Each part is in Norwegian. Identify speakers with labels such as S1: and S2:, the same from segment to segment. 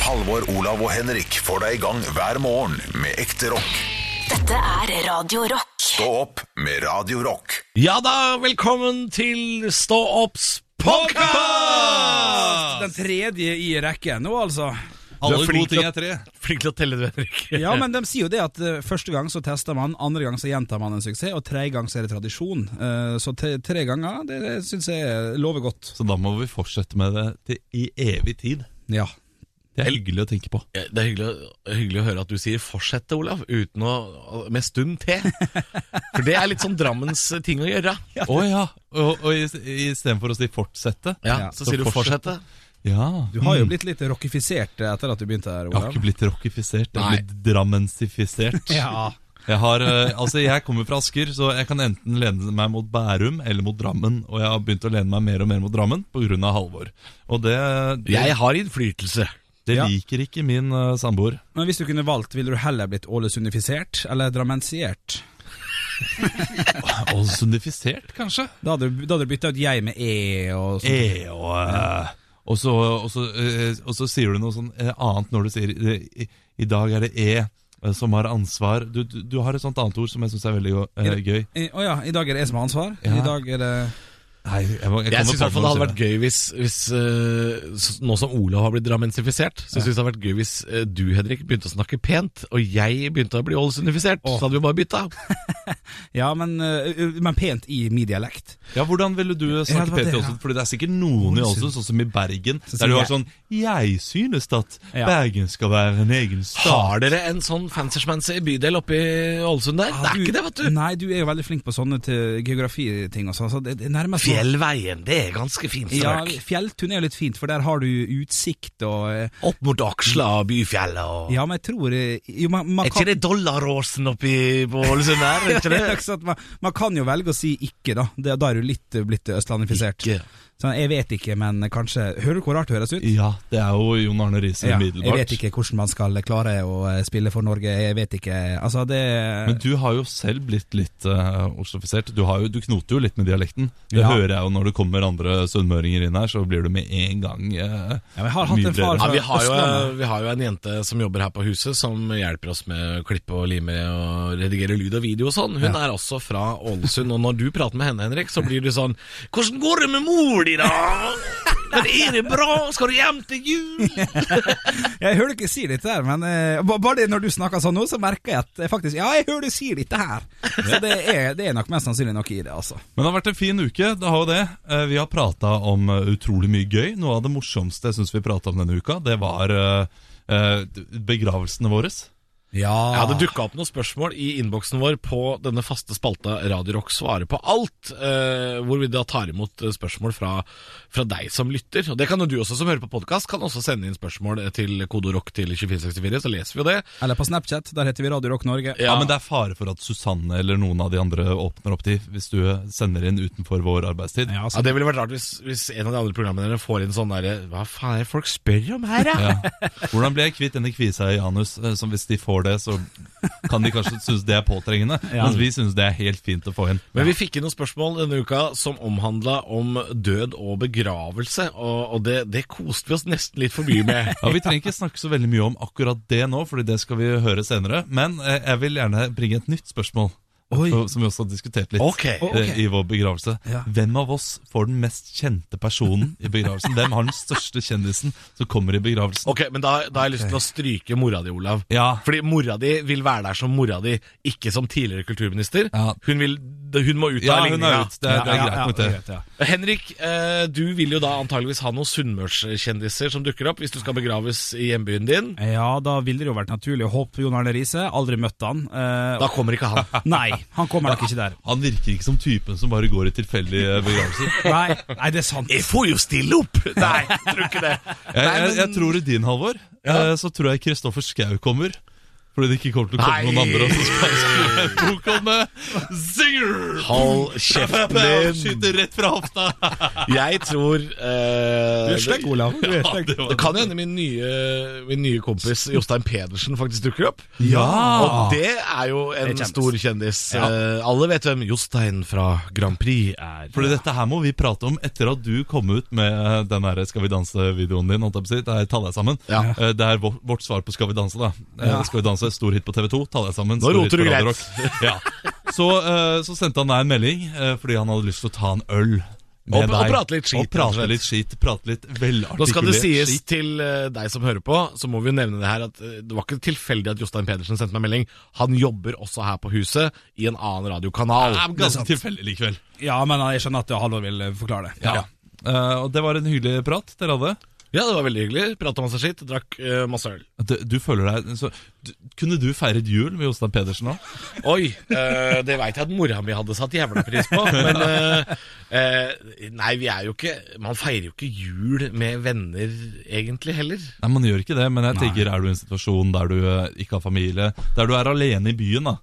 S1: Halvor, Olav og Henrik får deg i gang hver morgen med ekte rock.
S2: Dette er Radio Rock.
S1: Stå opp med Radio Rock.
S3: Ja da, velkommen til Stå opps podkast!
S4: Den tredje i rekken nå, altså.
S3: Du er
S5: Alle
S3: flink
S5: gode ting
S3: til å-
S5: er tre.
S3: Flink til å telle, du, Henrik.
S4: Ja, men de sier jo det at eh, første gang så tester man, andre gang så gjentar man en suksess, og tredje gang så er det tradisjon. Eh, så tre, tre ganger, det, det syns jeg lover godt.
S5: Så da må vi fortsette med det til i evig tid.
S4: Ja.
S5: Det er hyggelig å tenke på.
S3: Ja, Det er hyggelig, å- hyggelig å høre at du sier 'fortsette', Olav, uten å, med stum T. For det er litt sånn Drammens ting å gjøre.
S5: Å ja. Og, og istedenfor å si 'fortsette'
S3: Ja, så
S5: så
S3: sier du 'fortsette'.
S5: fortsette. Ja.
S4: Du har jo blitt litt rockifisert etter at du begynte her,
S5: Jeg har
S4: Olav.
S5: ikke blitt rockifisert. Jeg har
S3: Nei.
S5: blitt drammensifisert.
S4: Ja.
S5: Jeg, har, eh, altså, jeg kommer fra Asker, så jeg kan enten lene meg mot Bærum eller mot Drammen. Og jeg har begynt å lene meg mer og mer mot Drammen pga. Halvor. Og det, det,
S3: Jeg har innflytelse.
S5: det
S4: Ja.
S5: liker ikke min eh, samboer.
S4: Men hvis du kunne valgt, ville du heller blitt ålesundifisert eller drammensiert?
S5: Og sundifisert, kanskje?
S4: Da hadde du, da hadde du bytta ut jeg med e og sånn.
S5: Eh, og, eh, og, så, og, så, eh, og så sier du noe sånn eh, annet når du sier eh, i, I dag er det E eh, som har ansvar. Du, du, du har et sånt annet ord som jeg syns er veldig go- eh, gøy.
S4: Å ja, i dag er det jeg som har ansvar.
S5: Ja.
S4: I dag er det
S5: Nei, jeg, må- jeg
S3: Jeg
S5: kommer
S3: syns
S5: på
S3: det hadde
S5: noe
S3: vært gøy hvis, hvis eh, s- Nå som Olav har blitt drammensifisert, så synes jeg det hadde vært gøy hvis eh, du, Henrik, begynte å snakke pent, og jeg begynte å bli ålesundifisert. Så hadde vi bare bytta.
S4: Ja, men, eh, men pent i min dialekt.
S5: senere. ja, Hvordan ville du
S4: Ja,
S5: snakke
S4: det var
S5: pent
S4: det,
S5: i
S4: ja.
S5: Ålesund? Fordi det er sikkert noen i Ålesund, sånn som i Bergen, der du har
S4: jeg-
S5: sånn Jeg synes at
S4: Ja.
S5: Bergen skal være en egen stat.
S3: Har dere en sånn fancy-schmancy bydel oppe i Ålesund der? det er ikke det, vet du.
S4: Ah, Nei, du er jo veldig flink på sånne til geografiting og sånn. Så det, det er nærmest
S3: Fjellveien, det er ganske fint
S4: Ja,
S3: strøk.
S4: Fjelltun er jo litt fint, for der har du utsikt og eh,
S3: Opp mot Aksla og Byfjellet og
S4: Ja, men jeg tror eh, jo, man, man
S3: Er ikke
S4: kan,
S3: det Dollaråsen oppi på Ålesund her? Er ikke det?
S4: Ikke sant? man, man kan jo velge å si ikke, da. Det, da er du litt eh, blitt østlandifisert.
S3: Ikke.
S4: Så jeg vet ikke, men kanskje Hører du hvor rart det høres ut?
S5: Ja, det er jo Jon Arne Riise
S4: Ja, jeg
S5: umiddelbart.
S4: vet ikke hvordan man skal klare å eh, spille for Norge, jeg vet ikke Altså, det
S5: Men du har jo selv blitt litt uh, oslofisert. Du, har jo, du knoter jo litt med dialekten. Det
S4: Ja.
S5: hører jeg jo når det kommer andre sunnmøringer inn her, så blir du med en gang eh,
S4: Ja, men jeg har hatt en
S3: Ja,
S4: far
S5: mye bredere.
S3: vi, har jo,
S4: Østlandet.
S3: vi har jo en jente som jobber her på huset, som hjelper oss med å klippe og lime og redigere lyd og video og sånn. Hun er også fra Ålesund, og når du prater med henne, Henrik, så blir du sånn Hvordan går det med mor di, da? Men er det bra? Skal du hjem til jul?
S4: Jeg hører du ikke si dette her, men eh, ba- bare det når du snakker sånn nå, så merker jeg at jeg faktisk Ja, jeg hører du sier dette her! Så det er, det er nok mest sannsynlig noe i det, altså.
S5: Men det har vært en fin uke. det har jo det. Eh, Vi har prata om eh, utrolig mye gøy. Noe av det morsomste jeg syns vi prata om denne uka, det var eh, eh, begravelsene våre.
S3: Ja,
S4: Ah.
S3: det dukka opp noen spørsmål i innboksen vår på denne faste spalta Radio Rock svarer på alt, eh, hvor vi da tar imot eh, spørsmål fra, fra deg som lytter. Og Det kan jo du også som hører på podkast, kan også sende inn spørsmål eh, til kode rock til 2464, så leser vi jo det.
S4: Eller på Snapchat, der heter vi Radio Rock Norge.
S5: Ja. Men det er fare for at Susanne eller noen av de andre åpner opp de, hvis du sender inn utenfor vår arbeidstid.
S4: Ja,
S3: Ja,
S4: altså,
S3: Det ville vært rart hvis, hvis en av de andre programmene dere får inn sånn derre Hva faen er det folk spør om her, da?
S5: Ja. Hvordan blir jeg kvitt denne kvisa i anus? Eh, Som hvis de får det, så kan de kanskje synes det er påtrengende. Mens vi synes det er helt fint å få inn.
S3: Men vi fikk inn noen spørsmål denne uka som omhandla om død og begravelse, og, og det, det koste vi oss nesten litt for mye med.
S5: Ja, Vi trenger ikke snakke så veldig mye om akkurat det nå, Fordi det skal vi høre senere. Men eh, jeg vil gjerne bringe et nytt spørsmål,
S4: Oi.
S5: så- som vi også har diskutert litt.
S3: Ok.
S5: eh, I vår begravelse
S4: Ja.
S5: Hvem av oss får den mest kjente personen i begravelsen? Hvem har den største kjendisen som kommer i begravelsen?
S3: Ok, men da, da har jeg lyst til å stryke mora di, Olav.
S5: Ja,
S3: Fordi mora di vil være der som mora di, ikke som tidligere kulturminister.
S5: Ja.
S3: Hun, vil, hun må ut
S5: ja
S3: av
S5: hun
S3: ligninga.
S5: er ute. Det, er- det er
S4: ja,
S5: greit
S4: ja,
S5: nok, det.
S4: greit, ja.
S3: Henrik, eh, du vil jo da antageligvis ha noen sunnmørskjendiser som dukker opp hvis du skal begraves i hjembyen din.
S4: ja, da ville det jo vært naturlig å håpe på Jon Arne Riise. Aldri møtt han. Eh,
S3: Da kommer ikke han.
S4: nei, han kommer nok ikke der.
S5: Han virker ikke som typen som bare går i tilfeldige begravelser.
S4: Nei, nei, det er sant.
S3: Jeg får jo stille opp! Nei, jeg tror ikke det.
S5: Jeg,
S3: Nei,
S5: jeg,
S3: men-
S5: jeg tror i din, Halvor, eh, så tror jeg Kristoffer Schau kommer. Fordi det ikke kommer til å komme
S3: Nei.
S5: noen andre og så skal skrive bok om det. Zinger!
S3: Hold kjeften din!
S5: Skyter rett fra hofta!
S3: Jeg tror eh,
S4: Du er slem, Olav. Du er slem.
S5: det var
S3: Det kan hende min nye, min nye kompis Jostein Pedersen faktisk dukker opp.
S5: Ja!
S3: Og det er jo en
S4: Det er kjendis.
S3: stor kjendis. Eh, alle vet hvem Jostein fra Grand Prix er.
S5: Fordi dette her må vi prate om etter at du kom ut med eh, den der Skal vi danse-videoen din. holdt jeg på å si. Der, ta deg sammen.
S3: Ja.
S5: Eh, Det er vår- vårt svar på Skal vi danse. da Eh, Skal vi danse, Stor hit på TV2. Ta deg sammen.
S3: Nå
S5: stor
S3: roter
S5: hit på
S3: du greit.
S5: Radio Rock. Ja. Så, eh, så sendte han deg en melding eh, fordi han hadde lyst til å ta en øl. Med
S3: Og-
S5: deg.
S3: og prate litt skit,
S5: Og
S3: rett og slett.
S5: prate litt skit, prate litt velartikulert
S3: Nå skal det sies
S5: skit.
S3: til eh, deg som hører på, så må vi jo nevne det her at eh, det var ikke tilfeldig at Jostein Pedersen sendte meg melding. Han jobber også her på huset, i en annen radiokanal.
S5: Ja, men Ganske tilfeldig likevel.
S4: Ja, men jeg skjønner at Halvor vil eh, forklare det.
S5: Ja. Eh, og det var en hyggelig prat dere hadde.
S3: Ja, det var veldig hyggelig. Prata masse skitt, drakk eh, masse øl.
S5: Du, du føler deg så, du, Kunne du feiret jul med Jostein Pedersen nå?
S3: Oi, eh, det veit jeg at mora mi hadde satt jævla pris på, men eh, eh, Nei, vi er jo ikke Man feirer jo ikke jul med venner, egentlig, heller.
S5: Nei, Man gjør ikke det, men jeg tenker er du i en situasjon der du eh, ikke har familie, der du er alene i byen, da.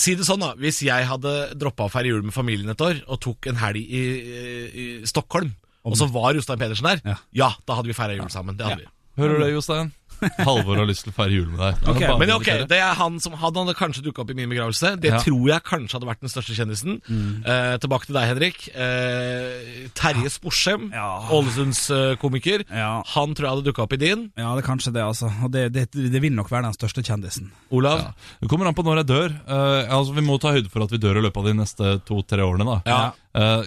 S3: Si det sånn, da. Hvis jeg hadde droppa å feire jul med familien et år, og tok en helg i, eh, i Stockholm, og så var Jostein Pedersen der,
S4: Ja.
S3: ja, da hadde vi feira jul sammen. Det hadde vi.
S5: Hører du det, Jostein? Halvor har lyst til å feire jul med deg. Han
S4: Ok,
S5: er bare
S3: Men
S5: med
S3: ok,
S5: dere.
S3: det er han som hadde, han hadde kanskje dukka opp i min begravelse. Det
S5: Ja.
S3: tror jeg kanskje hadde vært den største kjendisen. Eh, tilbake til deg, Henrik. Eh, Terje Sporsem,
S4: Ja.
S3: Ålesunds eh, komiker.
S4: Ja.
S3: Han tror jeg hadde dukka opp i din.
S4: Ja, det er kanskje det, altså. Og det, det, det vil nok være den største kjendisen.
S3: Olav.
S5: Ja. Det kommer an på når jeg dør. Eh, altså, vi må ta høyde for at vi dør i løpet av de neste to-tre årene, da.
S3: Ja.
S5: Eh,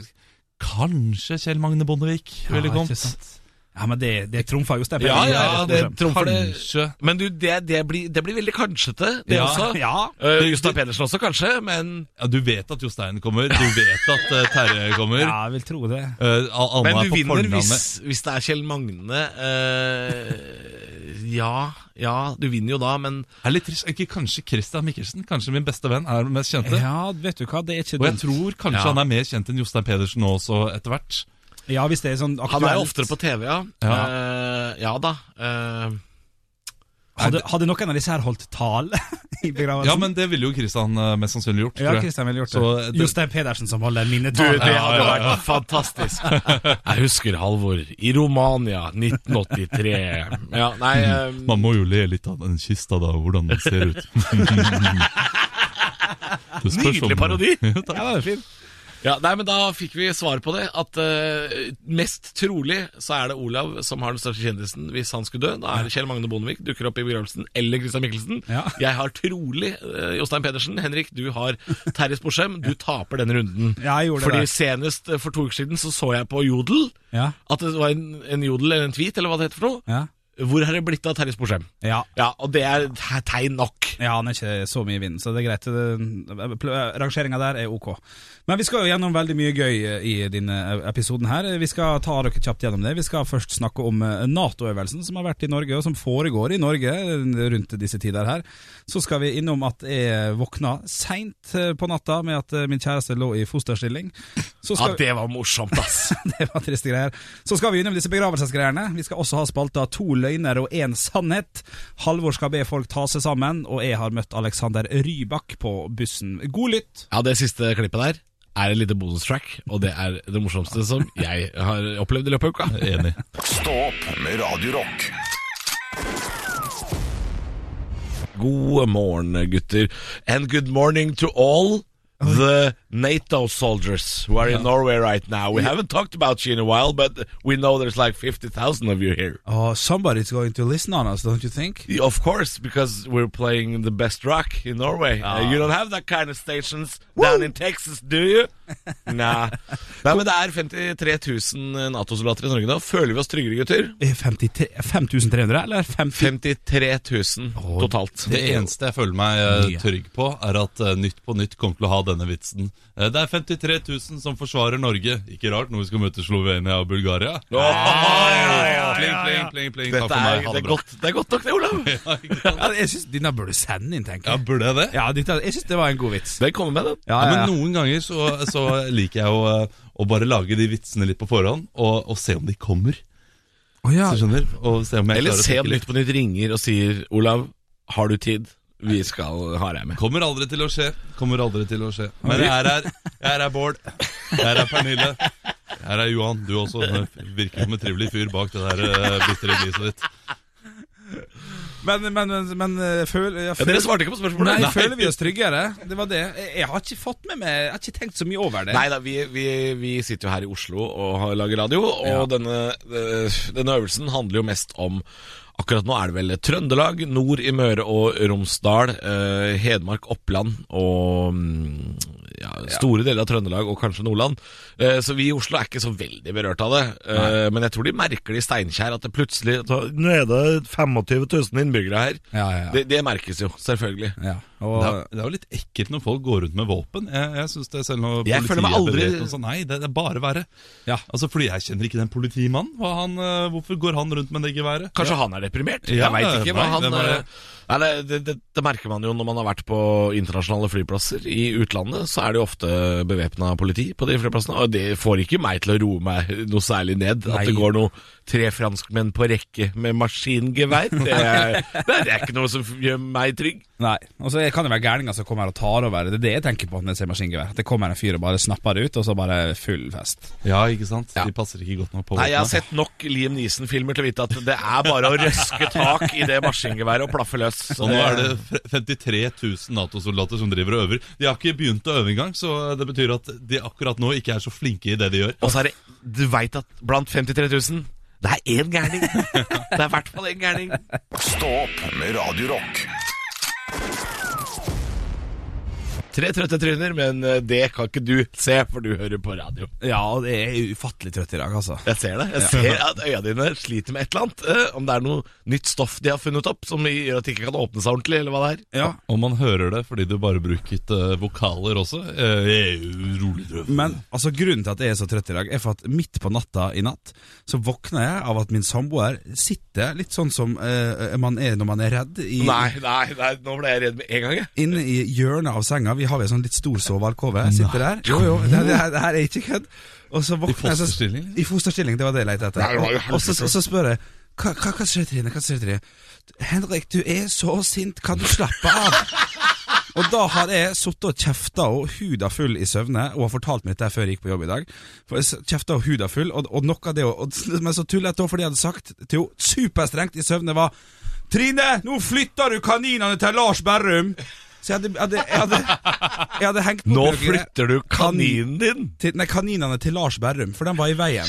S5: kanskje Kjell Magne Bondevik ville
S4: Ja, ikke
S5: kommet.
S4: sant? Ja, men det, det trumfa jo stedet.
S3: Ja, ja, det trumfer det.
S5: Kanskje.
S3: Men du, det, det, blir, det blir veldig kanskjete, det
S5: Ja.
S3: også.
S4: Ja.
S3: Eh, Jostein Pedersen også, kanskje, men
S5: Ja, du vet at Jostein kommer, du vet at eh, Terje kommer.
S4: ja, jeg vil tro det.
S5: Eh, Al- Alma
S3: Men
S5: er
S3: du
S5: på
S3: vinner
S5: fornavnet.
S3: hvis, hvis det er Kjell Magne. eh, ja, ja, du vinner jo da, men
S5: Det er litt trist. Ikke kanskje Christian Mikkelsen, kanskje min beste venn, er den mest kjente.
S4: Ja, vet du hva, det er ikke
S5: Og jeg
S4: dumt.
S5: tror kanskje
S3: Ja.
S5: han er mer kjent enn Jostein Pedersen nå også, etter hvert.
S4: Ja, hvis det er sånn
S3: han
S4: aktuelt.
S3: er jo oftere på TV, ja. Ja, ja da. eh,
S4: Hadde, hadde noen av disse her holdt tale i begravelsen?
S5: Ja, men det ville jo Christian eh, mest sannsynlig gjort.
S4: Ja,
S5: tror jeg.
S4: Kristian ville gjort det.
S5: Så, eh, det-
S4: Jostein Pedersen som holder
S3: du,
S4: minnetale.
S3: det
S4: Ja.
S3: hadde vært fantastisk. Jeg husker Halvor i Romania 1983. Ja, nei eh,
S4: Mm.
S5: Man må jo le litt av den kista, da, og hvordan den ser ut. Det spørs om-
S3: Nydelig parodi.
S5: Ja, takk.
S4: Ja, det er fint.
S3: Ja, nei, men Da fikk vi svar på det. At eh, mest trolig så er det Olav som har den største kjendisen hvis han skulle dø. Da er det Kjell Magne Bondevik dukker opp i begravelsen, eller Christian Michelsen.
S4: Ja.
S3: Jeg har trolig eh, Jostein Pedersen. Henrik, du har Terje Sporsem. Du taper denne runden.
S4: Ja, jeg gjorde
S3: Fordi
S4: det.
S3: senest eh, for to uker siden så så jeg på Jodel
S4: Ja,
S3: at det var en, en jodel eller en tweet eller hva det heter for noe.
S4: ja.
S3: Hvor har det blitt av Terje Sporsem?
S4: Ja.
S3: Ja, og det er te- tegn nok.
S4: ja, han er ikke så mye i vinden, så det er greit. Rangeringa der er ok. Men vi skal jo gjennom veldig mye gøy eh, i denne episoden her. Vi skal ta dere kjapt gjennom det. Vi skal først snakke om eh, Nato-øvelsen som har vært i Norge, og som foregår i Norge eh, rundt disse tider her. Så skal vi innom at jeg våkna seint eh, på natta med at min kjæreste lå i fosterstilling. Så
S3: Ja,
S4: skal
S3: det var morsomt, ass.
S4: Det var triste greier. Så skal vi innom disse begravelsesgreiene. Vi skal også ha spalta To løgner og én sannhet. Halvor skal be folk ta seg sammen, og jeg har møtt Alexander Rybak på bussen. God lytt.
S3: Ja, det siste klippet der er et lite bonustrack, og det er det morsomste som jeg har opplevd i løpet av uka.
S5: Enig.
S1: Stå opp med Radio Rock.
S3: God morgen, gutter. And good morning to all the NATO soldiers who are in Norway right now. We haven't talked about you in a while, but we know there's like 50,000 of you here.
S4: Oh, somebody's going to listen on us, don't you think?
S3: Of course, because we're playing the best rock in Norway. Uh,
S5: Ah.
S3: you don't have that kind of stations down in Texas, do you? Nah. Nei, men det er 53 000 Nato-soldater i Norge nå. Føler vi oss tryggere, gutter?
S4: Eh, 53 5300, eller? 50
S3: 53 000 totalt.
S5: Det eneste jeg føler meg eh, trygg på, er at eh, Nytt på Nytt kommer til å ha denne vitsen. Eh, Det er 53 000 som forsvarer Norge. Ikke rart når vi skal møte Slovenia og Bulgaria. Pling, pling, pling, pling. Takk
S3: Dette
S5: for
S3: er, det,
S5: meg. Ha Ah, det
S3: er
S5: bra.
S3: godt, det er godt nok, det, Olav.
S4: ja, jeg syns denne burde du sende inn, tenker
S5: Ja,
S4: jeg.
S5: burde jeg det?
S4: Ja, dette, jeg syns det var en god vits.
S3: Den kommer med, den.
S4: Ja,
S5: Ja,
S4: ja, ja.
S5: men noen ganger så, så liker jeg å, eh, å bare lage de vitsene litt på forhånd, og, og se om de kommer.
S4: Å, ja.
S5: Så skjønner Og se om jeg
S3: Eller
S5: klarer å
S3: se om
S5: tenke
S3: Nytt på Nytt ringer og sier Olav, har du tid? vi skal ha deg med.
S5: Kommer aldri til å skje. Kommer aldri til å skje. Men jeg er her. Jeg er her, Bård. Jeg er her, Pernille. Her er Johan. Du også. Det Virker som en trivelig fyr bak det der eh, bitre gliset ditt.
S4: Men, men, men, men eh, føl, jeg
S3: Ja,
S4: føl-
S3: dere svarte ikke på spørsmålet.
S4: Nei, føler vi oss tryggere? Det var det. Jeg, jeg har ikke fått med meg Jeg har ikke tenkt så mye over det.
S3: Nei da, vi, vi, vi sitter jo her i Oslo og har- lager radio, og denne, eh, denne øvelsen handler jo mest om Akkurat nå er det vel Trøndelag, nord i Møre og Romsdal, eh, Hedmark, Oppland og mm, ja, store deler av Trøndelag og kanskje Nordland. Eh, så vi i Oslo er ikke så veldig berørt av det. Eh, men jeg tror de merker det i Steinkjer, at det plutselig Nå er det 25 000 innbyggere her.
S4: Ja, ja, ja.
S3: Det, det merkes jo, selvfølgelig.
S4: Ja, og,
S5: Det er, det er jo litt ekkelt når folk går rundt med våpen. Jeg, jeg synes det er selv når
S3: Jeg
S5: politiet
S3: føler meg aldri-
S5: er bevæpnet og sånn, Nei, det, det er bare verre.
S4: Ja.
S5: Altså, fordi jeg kjenner ikke den politimannen. Hva han, eh, hvorfor går han rundt med det geværet?
S3: Kanskje han er deprimert?
S5: Ja,
S3: jeg veit ikke.
S5: nei,
S3: Men han,
S5: hvem er det?
S3: eh, nei, det, det, det, det merker man jo når man har vært på internasjonale flyplasser i utlandet. Så er det jo ofte bevæpna politi på de flyplassene. Og det får ikke meg til å roe meg noe særlig ned. At det går noe tre franskmenn på rekke med maskingevær. Det, er- det er ikke noe som gjør meg trygg.
S4: nei. og så kan det være gærninger som kommer og tar over. Det er det jeg tenker på når jeg ser maskingevær. At det kommer en fyr og bare snapper det ut, og så bare full fest.
S5: Ja, ikke sant? De passer ikke godt nok på
S3: Nei, Jeg har
S5: våpenet.
S3: sett nok Liam Neeson-filmer til å vite at det er bare å røske tak i det maskingeværet og plaffe løs. Så
S5: Og nå er det f- 53 000 Nato-soldater som driver og øver. De har ikke begynt å øve engang, så det betyr at de akkurat nå ikke er så flinke i det de gjør.
S3: Og så er det Du veit at blant 53 000 det er én gærning. Det er i hvert fall én gærning.
S1: Stå opp med Radio Rock.
S3: Tre trøtte tryner, men eh, det kan ikke du se, for du hører på radio.
S4: Ja, og det er ufattelig trøtt i dag, altså.
S3: Jeg ser det. Jeg ser at øya dine sliter med et eller annet. eh, Om det er noe nytt stoff de har funnet opp som gjør at de ikke kan åpne seg ordentlig, eller hva det er.
S4: Ja,
S5: Og man hører det fordi du bare bruket eh, vokaler også. Eh, jeg er jo rolig drøv.
S4: Men altså, grunnen til at jeg er så trøtt i dag, er for at midt på natta i natt så våkner jeg av at min samboer sitter litt sånn som eh, man er når man er redd,
S3: Mm.
S4: i,
S3: nei, nei, nå ble jeg redd med en gang, jeg.
S4: inne i hjørnet av senga. Vi har jo en sånn litt stor sovealkove. Jeg Sitter der. Jo, jo, det, det, her, det her er ikke kødd. Og så våkner jeg så-
S5: fosterstilling, liksom?
S4: I fosterstilling, det var det jeg lette etter.
S3: Nei, det var jo
S4: Og- og, så, og så spør jeg hva, hva, hva skjer, Trine? Hva skjer, Trine? Henrik, du er så sint, kan du slappe av? Og da har jeg sittet og kjefta og huda full i søvne, og har fortalt meg dette før jeg gikk på jobb i dag. For jeg s- Kjefta og huda full, og, og noe av det å- og, Men så tullete òg, for det jeg hadde sagt til henne superstrengt i søvne, var Trine, nå flytter du kaninene til Lars Berrum! Så jeg hadde, jeg hadde, jeg hadde, jeg hadde hengt
S3: Nå
S4: noe-
S3: flytter du kaninen din.
S4: til, nei, kaninene til Lars Berrum, for den var i veien.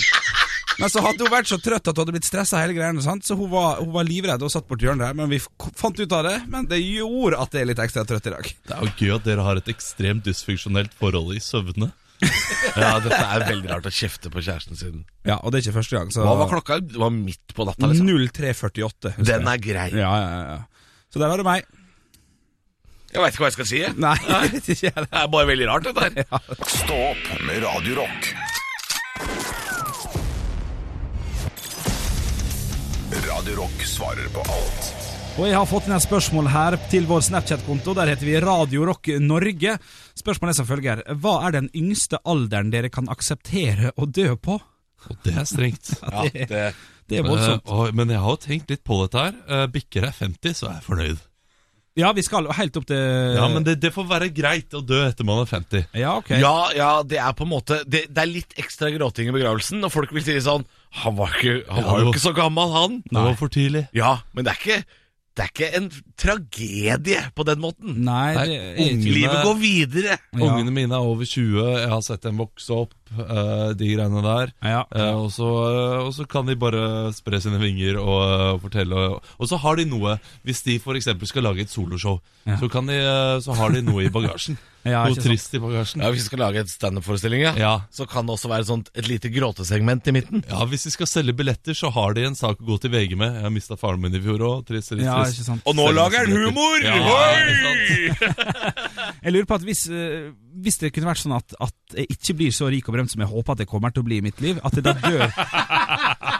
S4: Men så hadde hun vært så trøtt at hun hadde blitt stressa hele greiene, sant? så hun var, hun var livredd og satt borti hjørnet der. Men vi f- fant ut av det, men det gjorde at jeg er litt ekstra trøtt i dag.
S5: Det er jo gøy at dere har et ekstremt dysfunksjonelt forhold i søvne.
S3: Ja, dette er veldig rart å kjefte på kjæresten sin.
S4: Ja, og det er ikke første gang. Så
S3: Hva var klokka? Det var midt på natta, liksom.
S4: 03.48. husker
S3: Den
S4: jeg.
S3: er grei.
S4: Ja, ja, ja, ja. Så der har du meg.
S3: Jeg veit ikke hva jeg skal si, jeg.
S4: Nei, jeg vet ikke jeg.
S3: Det er bare veldig rart, dette her.
S1: Stå opp med Radio Rock. Radio Rock svarer på alt.
S4: Og jeg har fått inn et spørsmål her til vår Snapchat-konto. Der heter vi Radio Rock Norge. Spørsmålet er som følger Hva er den yngste alderen dere kan akseptere å dø på?
S5: Og det er strengt.
S3: Ja, det,
S4: Det er voldsomt.
S5: Eh, og- men jeg har jo tenkt litt på dette her. Eh, bikker jeg 50, så er jeg fornøyd.
S4: Ja, vi skal helt opp til
S5: Ja, men det, det får være greit å dø etter man er 50.
S4: Ja, ok.
S3: ja, ja, det er på en måte det, det er litt ekstra gråting i begravelsen, og folk vil si sånn Han var, ikke, han var jo ikke så gammel, han.
S5: Det var for tidlig.
S3: Ja, men det er ikke Det er ikke en tragedie på den måten.
S4: Nei,
S5: Nei,
S4: det
S5: ung.
S4: er
S5: Ungene-
S3: Livet går videre.
S4: Ja.
S5: Ungene mine er over 20, jeg har sett dem vokse opp, eh, de greiene der.
S4: Ja.
S5: Eh, og, så, eh, og så kan de bare spre sine vinger og eh, fortelle. Og, og så har de noe, hvis de f.eks. skal lage et soloshow, så, kan de, eh, så har de noe i bagasjen.
S4: Ja,
S5: noe
S4: ikke sant.
S5: trist i bagasjen.
S3: Ja, Hvis vi skal lage et standup-forestilling, ja,
S5: Ja.
S3: så kan det også være sånt, et lite gråtesegment i midten.
S5: Ja, Hvis de skal selge billetter, så har de en sak å gå til VG med. Jeg mista faren min i fjor òg. Trist, trist,
S4: Ja,
S5: trist.
S4: ikke sant.
S3: Og nå
S5: Selge
S3: lager han
S5: billetter.
S3: humor!
S5: Ja,
S3: Hoi!
S5: ikke sant?
S4: Jeg lurer på at hvis, eh, hvis det kunne vært sånn at, at jeg ikke blir så rik og berømt som jeg håper at jeg kommer til å bli i mitt liv, at jeg da dør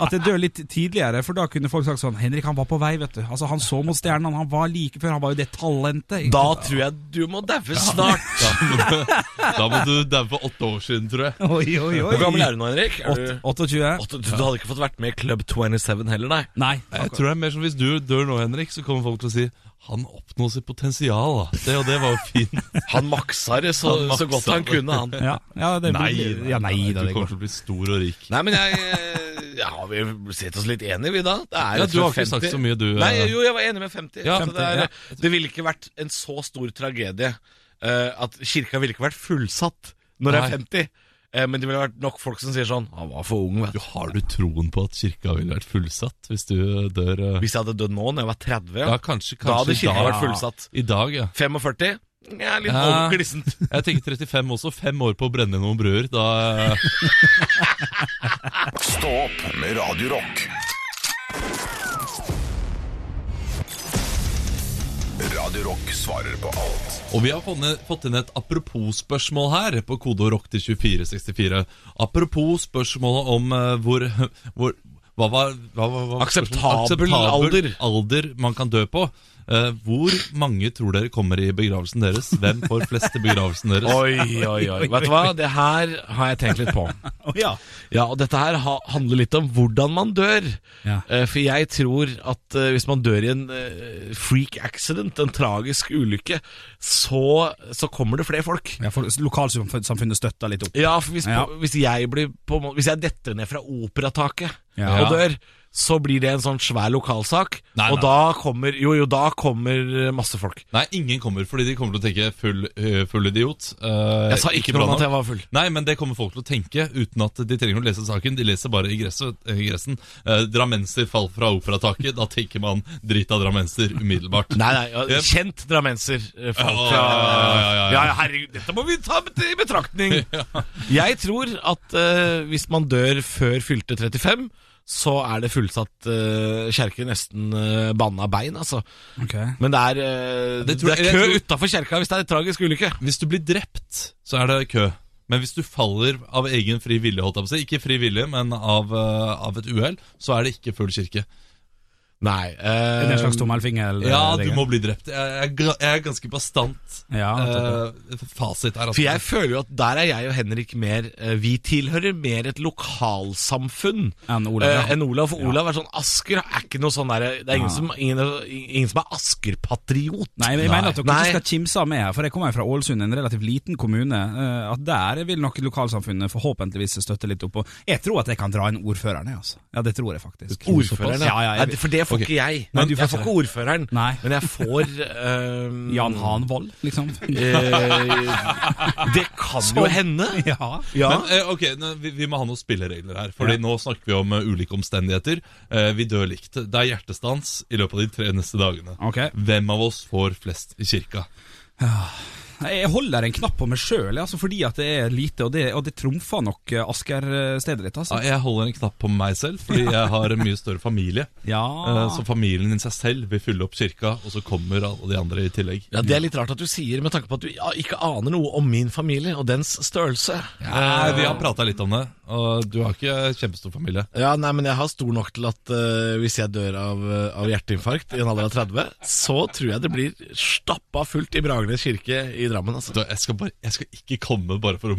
S4: At jeg dør litt tidligere, for da kunne folk sagt sånn Henrik han var på vei, vet du. Altså Han så mot stjernene, han var like før, han var jo det talentet.
S3: Da tror jeg du må daue snart.
S5: Da må du daue for åtte år siden, tror jeg.
S4: Oi, oi, oi.
S3: Hvor gammel er du nå, Henrik? Er du,
S4: 28?
S3: Åtte- du, du hadde ikke fått vært med i Club 27 heller, nei?
S4: Nei.
S5: Jeg tror det er mer som Hvis du dør nå, Henrik, så kommer folk til å si Han oppnå sitt potensial, da. Det, og det var jo fint.
S3: Han maksa det så,
S5: Han
S3: så godt han
S5: maksa det.
S3: kunne, han.
S4: Ja, ja, det
S5: Nei,
S4: ja, nei da,
S5: du
S4: det
S5: kommer
S4: går.
S5: til å bli stor og rik.
S3: Nei, men jeg, eh, ja, Har vi sett oss litt enige, vi da? Det er
S5: Ja,
S3: rett
S5: du har
S3: og slett
S5: ikke sagt
S3: 50.
S5: så mye, du, eh.
S3: Nei, jo, jeg var enig med 50.
S5: Ja,
S3: så det,
S4: 50,
S3: er, det ville ikke vært en så stor tragedie eh, at kirka ville ikke vært fullsatt når det er
S5: Nei.
S3: 50. eh, men det ville vært nok folk som sier sånn Han var for ung, vet
S5: Du,
S3: du.
S5: har du troen på at kirka ville vært fullsatt hvis du dør eh,
S3: Hvis jeg hadde dødd nå, når jeg var 30,
S5: Ja, kanskje, kanskje
S3: da hadde
S5: i
S3: kirka
S5: dag.
S3: vært fullsatt.
S5: I dag, ja.
S3: 45? Ja, litt
S5: Ja.
S3: overglissent.
S5: Jeg tenker 35 også. Fem år på å brenne noen bruer. Da eh,
S1: Stå opp med Radio Rock. Radio Rock svarer på alt.
S5: Og vi har funnet, fått inn et apropos-spørsmål her på kode rock til 2464. Apropos spørsmålet om eh, hvor, hvor hva var, hva var, hva var
S3: Akseptabel alder.
S5: alder man kan dø på. Eh, hvor mange tror dere kommer i begravelsen deres? Hvem får flest til begravelsen deres?
S3: Oi, oi, oi. Vet du hva? Det her har jeg tenkt litt på.
S4: Å, ja.
S3: Ja, og dette her ha, handler litt om hvordan man dør.
S4: Ja.
S3: Eh, for jeg tror at eh, hvis man dør i en eh, freak accident, en tragisk ulykke, så, så kommer det flere folk.
S4: Ja, for Lokalsamfunnet støtter litt opp.
S3: Ja, for hvis,
S4: Ja.
S3: På, hvis, jeg blir på, en måte- hvis jeg detter ned fra operataket
S4: Ja.
S3: og dør, så blir det en sånn svær lokalsak,
S5: Nei,
S3: og
S5: nei.
S3: da kommer Jo, jo, da kommer masse folk.
S5: Nei, ingen kommer, fordi de kommer til å tenke full, eh, full idiot. eh,
S3: Jeg sa ikke
S5: bra
S3: noe om at
S5: nok.
S3: jeg var full.
S5: Nei, men det kommer folk til å tenke uten at de trenger å lese saken. De leser bare i gresset, i gressen. Eh, Drammenser fall fra operataket. Da tenker man drit av drammenser umiddelbart.
S3: Nei, nei, ja,
S5: Yep.
S3: kjent drammenser eh, folk
S5: Ja,
S3: ja,
S5: ja, ja, ja, ja.
S3: ja, herregud, dette må vi ta bet- i betraktning Jeg tror at eh, hvis man dør før fylte 35 Så er det fullsatt uh, kjerke nesten eh, banna bein, altså Men det er, eh,
S5: Det
S3: det
S5: tror jeg-
S3: er kø
S5: jeg
S3: utenfor kjerka hvis det er en tragisk ulykke
S5: Hvis du blir drept, så er det kø. Men hvis du faller av egen fri vilje, holdt jeg på å si, ikke fri vilje, men av, eh, av et uhell, så er det ikke full kirke.
S3: Nei
S4: Er
S3: eh,
S4: det en slags tommelfingel?
S5: Ja,
S4: eh,
S5: du
S4: regel?
S5: må bli drept. Jeg, jeg, er gra- jeg er ganske bastant.
S4: Ja, nettopp.
S5: Eh, fasit er altså
S3: For jeg føler jo at der er jeg og Henrik mer eh, Vi tilhører mer et lokalsamfunn
S4: Enn Olav, ja.
S3: eh, enn Olav. For Olav er sånn Asker er ikke noe sånn derre Det er ingen,
S4: Ja.
S3: som, ingen, ingen som er Asker-patriot.
S4: Nei, jeg mener at dere
S3: Nei.
S4: ikke skal kimse av meg her, for jeg kommer jo fra Ålesund, en relativt liten kommune. eh, At der vil nok lokalsamfunnet forhåpentligvis støtte litt opp. Og jeg tror at jeg kan dra inn ordføreren, jeg, altså. Ja, det tror jeg faktisk.
S3: Ordføreren,
S4: Ja, ja,
S3: Nei,
S4: jeg vil.
S3: For det får
S5: Ok.
S3: ikke jeg.
S4: Nei, du får
S3: jeg får
S4: ikke
S3: ikke ordføreren,
S4: Nei.
S3: men jeg får eh,
S4: Jan Hanvold, liksom.
S3: eh, Det kan
S4: Sånn.
S3: jo hende.
S4: Ja.
S3: Ja.
S5: Men, eh, ok, nå, vi, vi må ha noen spilleregler her. Fordi nå snakker vi om eh, ulike omstendigheter. Eh, vi dør likt. Det er hjertestans i løpet av de tre neste dagene.
S4: Ok.
S5: Hvem av oss får flest i kirka?
S4: Jeg holder en knapp på meg sjøl, altså, fordi at det er lite, og det, og det trumfer nok eh, Asker-stedet ditt,
S5: Ja,
S4: altså.
S5: jeg holder en knapp på meg selv, fordi jeg har en mye større familie.
S4: Ja.
S5: Eh, så familien i seg selv vil fylle opp kirka, og så kommer alle de andre i tillegg.
S3: Ja, Det er litt rart at du sier, med tanke på at du ja, ikke aner noe om min familie og dens størrelse.
S5: Eh, vi har prata litt om det, og du har ikke kjempestor familie.
S3: Ja, nei, men jeg har stor nok til at eh, hvis jeg dør av, eh, av hjerteinfarkt i en alder av 30, så tror jeg det blir stappa fullt i Bragernes kirke i Drammen, altså.
S5: Du, jeg, skal bare, jeg skal ikke komme bare for å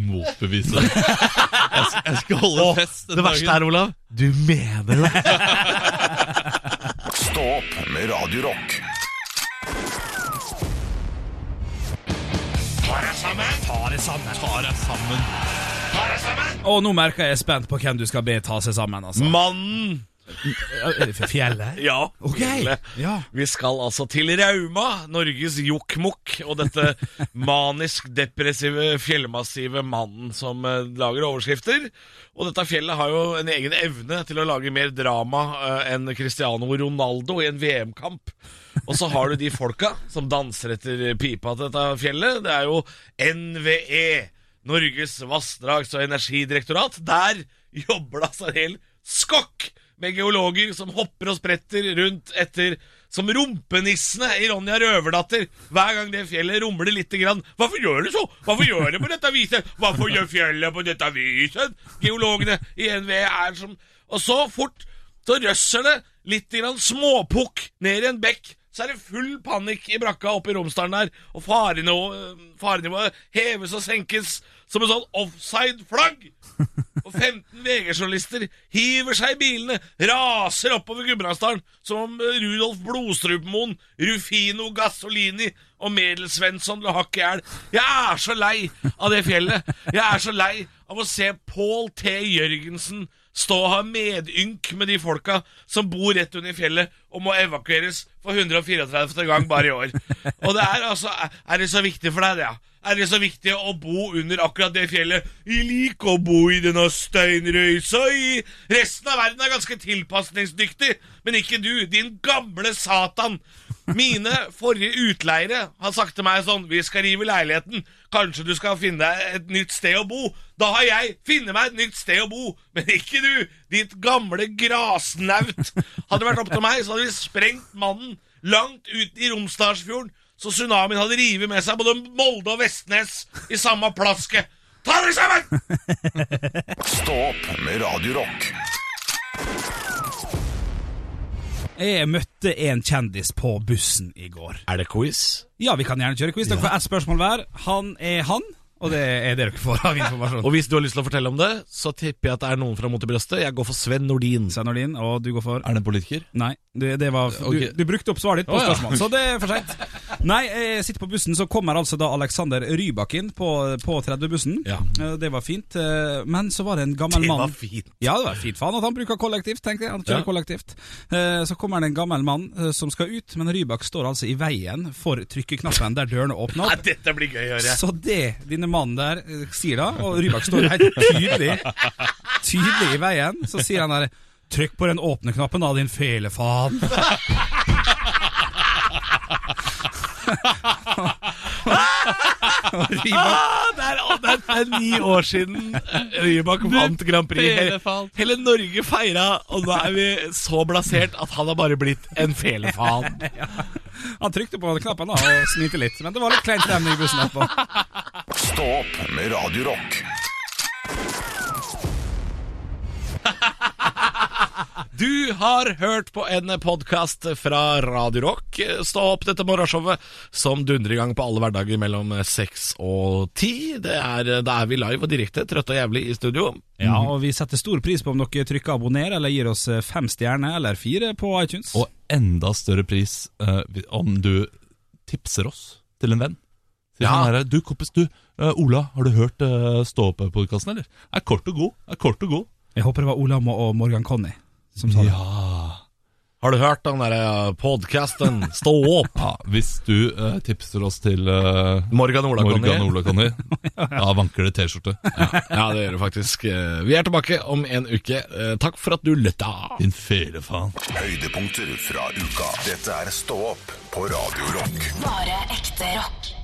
S5: motbevise det. Jeg skal, jeg skal holde fest den
S3: Det verste
S5: dagen.
S3: er, Olav, du mener det!
S1: Stå opp med Radio Rock.
S4: Og nå merker jeg er spent på hvem du skal be ta seg sammen, altså.
S3: Mannen!
S4: For fjellet?
S3: Ja.
S4: Ok. Ja.
S3: Vi skal altså til Rauma, Norges jokkmokk, og dette manisk-depressive fjellmassive mannen som eh, lager overskrifter. Og dette fjellet har jo en egen evne til å lage mer drama eh, enn Cristiano Ronaldo i en VM-kamp. Og så har du de folka som danser etter pipa til dette fjellet. Det er jo NVE, Norges vassdrags- og energidirektorat. Der jobber det altså en hel skokk med geologer som hopper og spretter rundt etter som rumpenissene i Ronja Røverdatter. Hver gang det fjellet rumler lite grann. Hvorfor gjør det så? Hvorfor gjør det på dette viset? Hvorfor gjør fjellet på dette viset? Geologene i NVE er som Og så fort så røsser det litt grann småpukk ned i en bekk
S6: så er det full panikk i brakka oppe i Romsdalen der, og farenivået, farenivået heves og senkes som en sånn offside-flagg. Og 15 VG-journalister hiver seg i bilene, raser oppover Gudbrandsdalen som om Rudolf Blodstrupemoen, Rufino Gasolini og Medelsvensson lå hakk i hjel. Jeg er så lei av det fjellet. Jeg er så lei av å se Pål T. Jørgensen stå og ha medynk med de folka som bor rett under fjellet og må evakueres for 134. gang bare i år. Og det er altså Er det så viktig for deg, det? ja? Er det så viktig å bo under akkurat det fjellet? Vi liker å bo i denne steinrøysa i Resten av verden er ganske tilpasningsdyktig, men ikke du, din gamle satan. Mine forrige utleiere har sagt til meg sånn Vi skal rive leiligheten. Kanskje du skal finne deg et nytt sted å bo? Da har jeg funnet meg et nytt sted å bo, men ikke du, ditt gamle grasnaut. Hadde det vært opp til meg, så hadde vi sprengt mannen langt ut i Romsdalsfjorden, så tsunamien hadde revet med seg både Molde og Vestnes i samme plasket. Ta dere sammen!
S1: Stå opp med Radio Rock.
S4: Jeg møtte en kjendis på bussen i går.
S6: Er det quiz?
S4: Ja, vi kan gjerne kjøre quiz. Dere får ett spørsmål hver. Han er han, og det er det dere får av informasjon.
S6: Og hvis du har lyst til å fortelle om det, så tipper jeg at det er noen fra Mot i brøstet. Jeg går for Sven Nordin.
S4: Svein Nordin, og du går for
S5: Er det en politiker?
S4: Nei, det, det var,
S5: Ok.
S4: du, du brukte opp svaret ditt på
S5: Å, ja.
S4: spørsmål, så det er for seint. Nei, jeg sitter på bussen, så kommer altså da Alexander Rybak inn på, på 30-bussen.
S6: Ja.
S4: Eh, Det var fint, eh, men så var det en gammel
S6: Det
S4: mann
S6: var fint.
S4: Ja, det var fint for han at han bruker kollektivt, tenkte jeg. Han kjører
S6: Ja.
S4: kollektivt. Eh, Så kommer det en gammel mann eh, som skal ut, men Rybak står altså i veien for trykkeknappen der dørene åpner
S6: Nei,
S4: opp.
S6: dette blir gøy å høre.
S4: Så det denne mannen der eh, sier da, og Rybak står helt tydelig Tydelig i veien, så sier han der Trykk på den åpne knappen da, din felefaen. Og Rybak
S6: Ah, det, er, å, det, er, det er ni år siden Rybak vant Grand Prix. Hele,
S5: felefalt.
S6: hele Norge feira, og nå er vi så blasert at han har bare blitt en felefaen.
S4: han trykte på knappen da og smilte litt, men det var litt kleint stemning i bussen etterpå.
S1: Stå opp med Radio Rock.
S6: Du har hørt på en podkast fra Radio Rock. Stå opp dette morgenshowet som dundrer i gang på alle hverdager mellom seks og ti. Det er, da er vi live og direkte, trøtte og jævlig i studio.
S4: Ja, og vi setter stor pris på om dere trykker abonner, eller gir oss eh, fem stjerner eller fire på iTunes.
S5: Og enda større pris eh, vi- om du tipser oss til en venn. Sier
S6: Ja.
S5: sånn her, du kompis, du, eh, Ola, har du hørt eh, Stå opp-podkasten, eller? Er kort og god. Er kort og god.
S4: Jeg håper det var Ola Mo- og Morgan Conny som sa det.
S5: Ja.
S6: Har du hørt den derre podkasten Stå opp?
S5: ja hvis du eh, tipser oss til eh,
S6: Morgan Ola
S5: Morgan
S6: Conny.
S5: Ola Conny, da vanker det T-skjorte.
S6: Ja, det gjør det faktisk. Eh, Vi er tilbake om en uke. Eh, Takk for at du lytta.
S5: Din felefaen.
S1: Høydepunkter fra uka. Dette er Stå opp på Radio Rock.
S2: Bare ekte rock.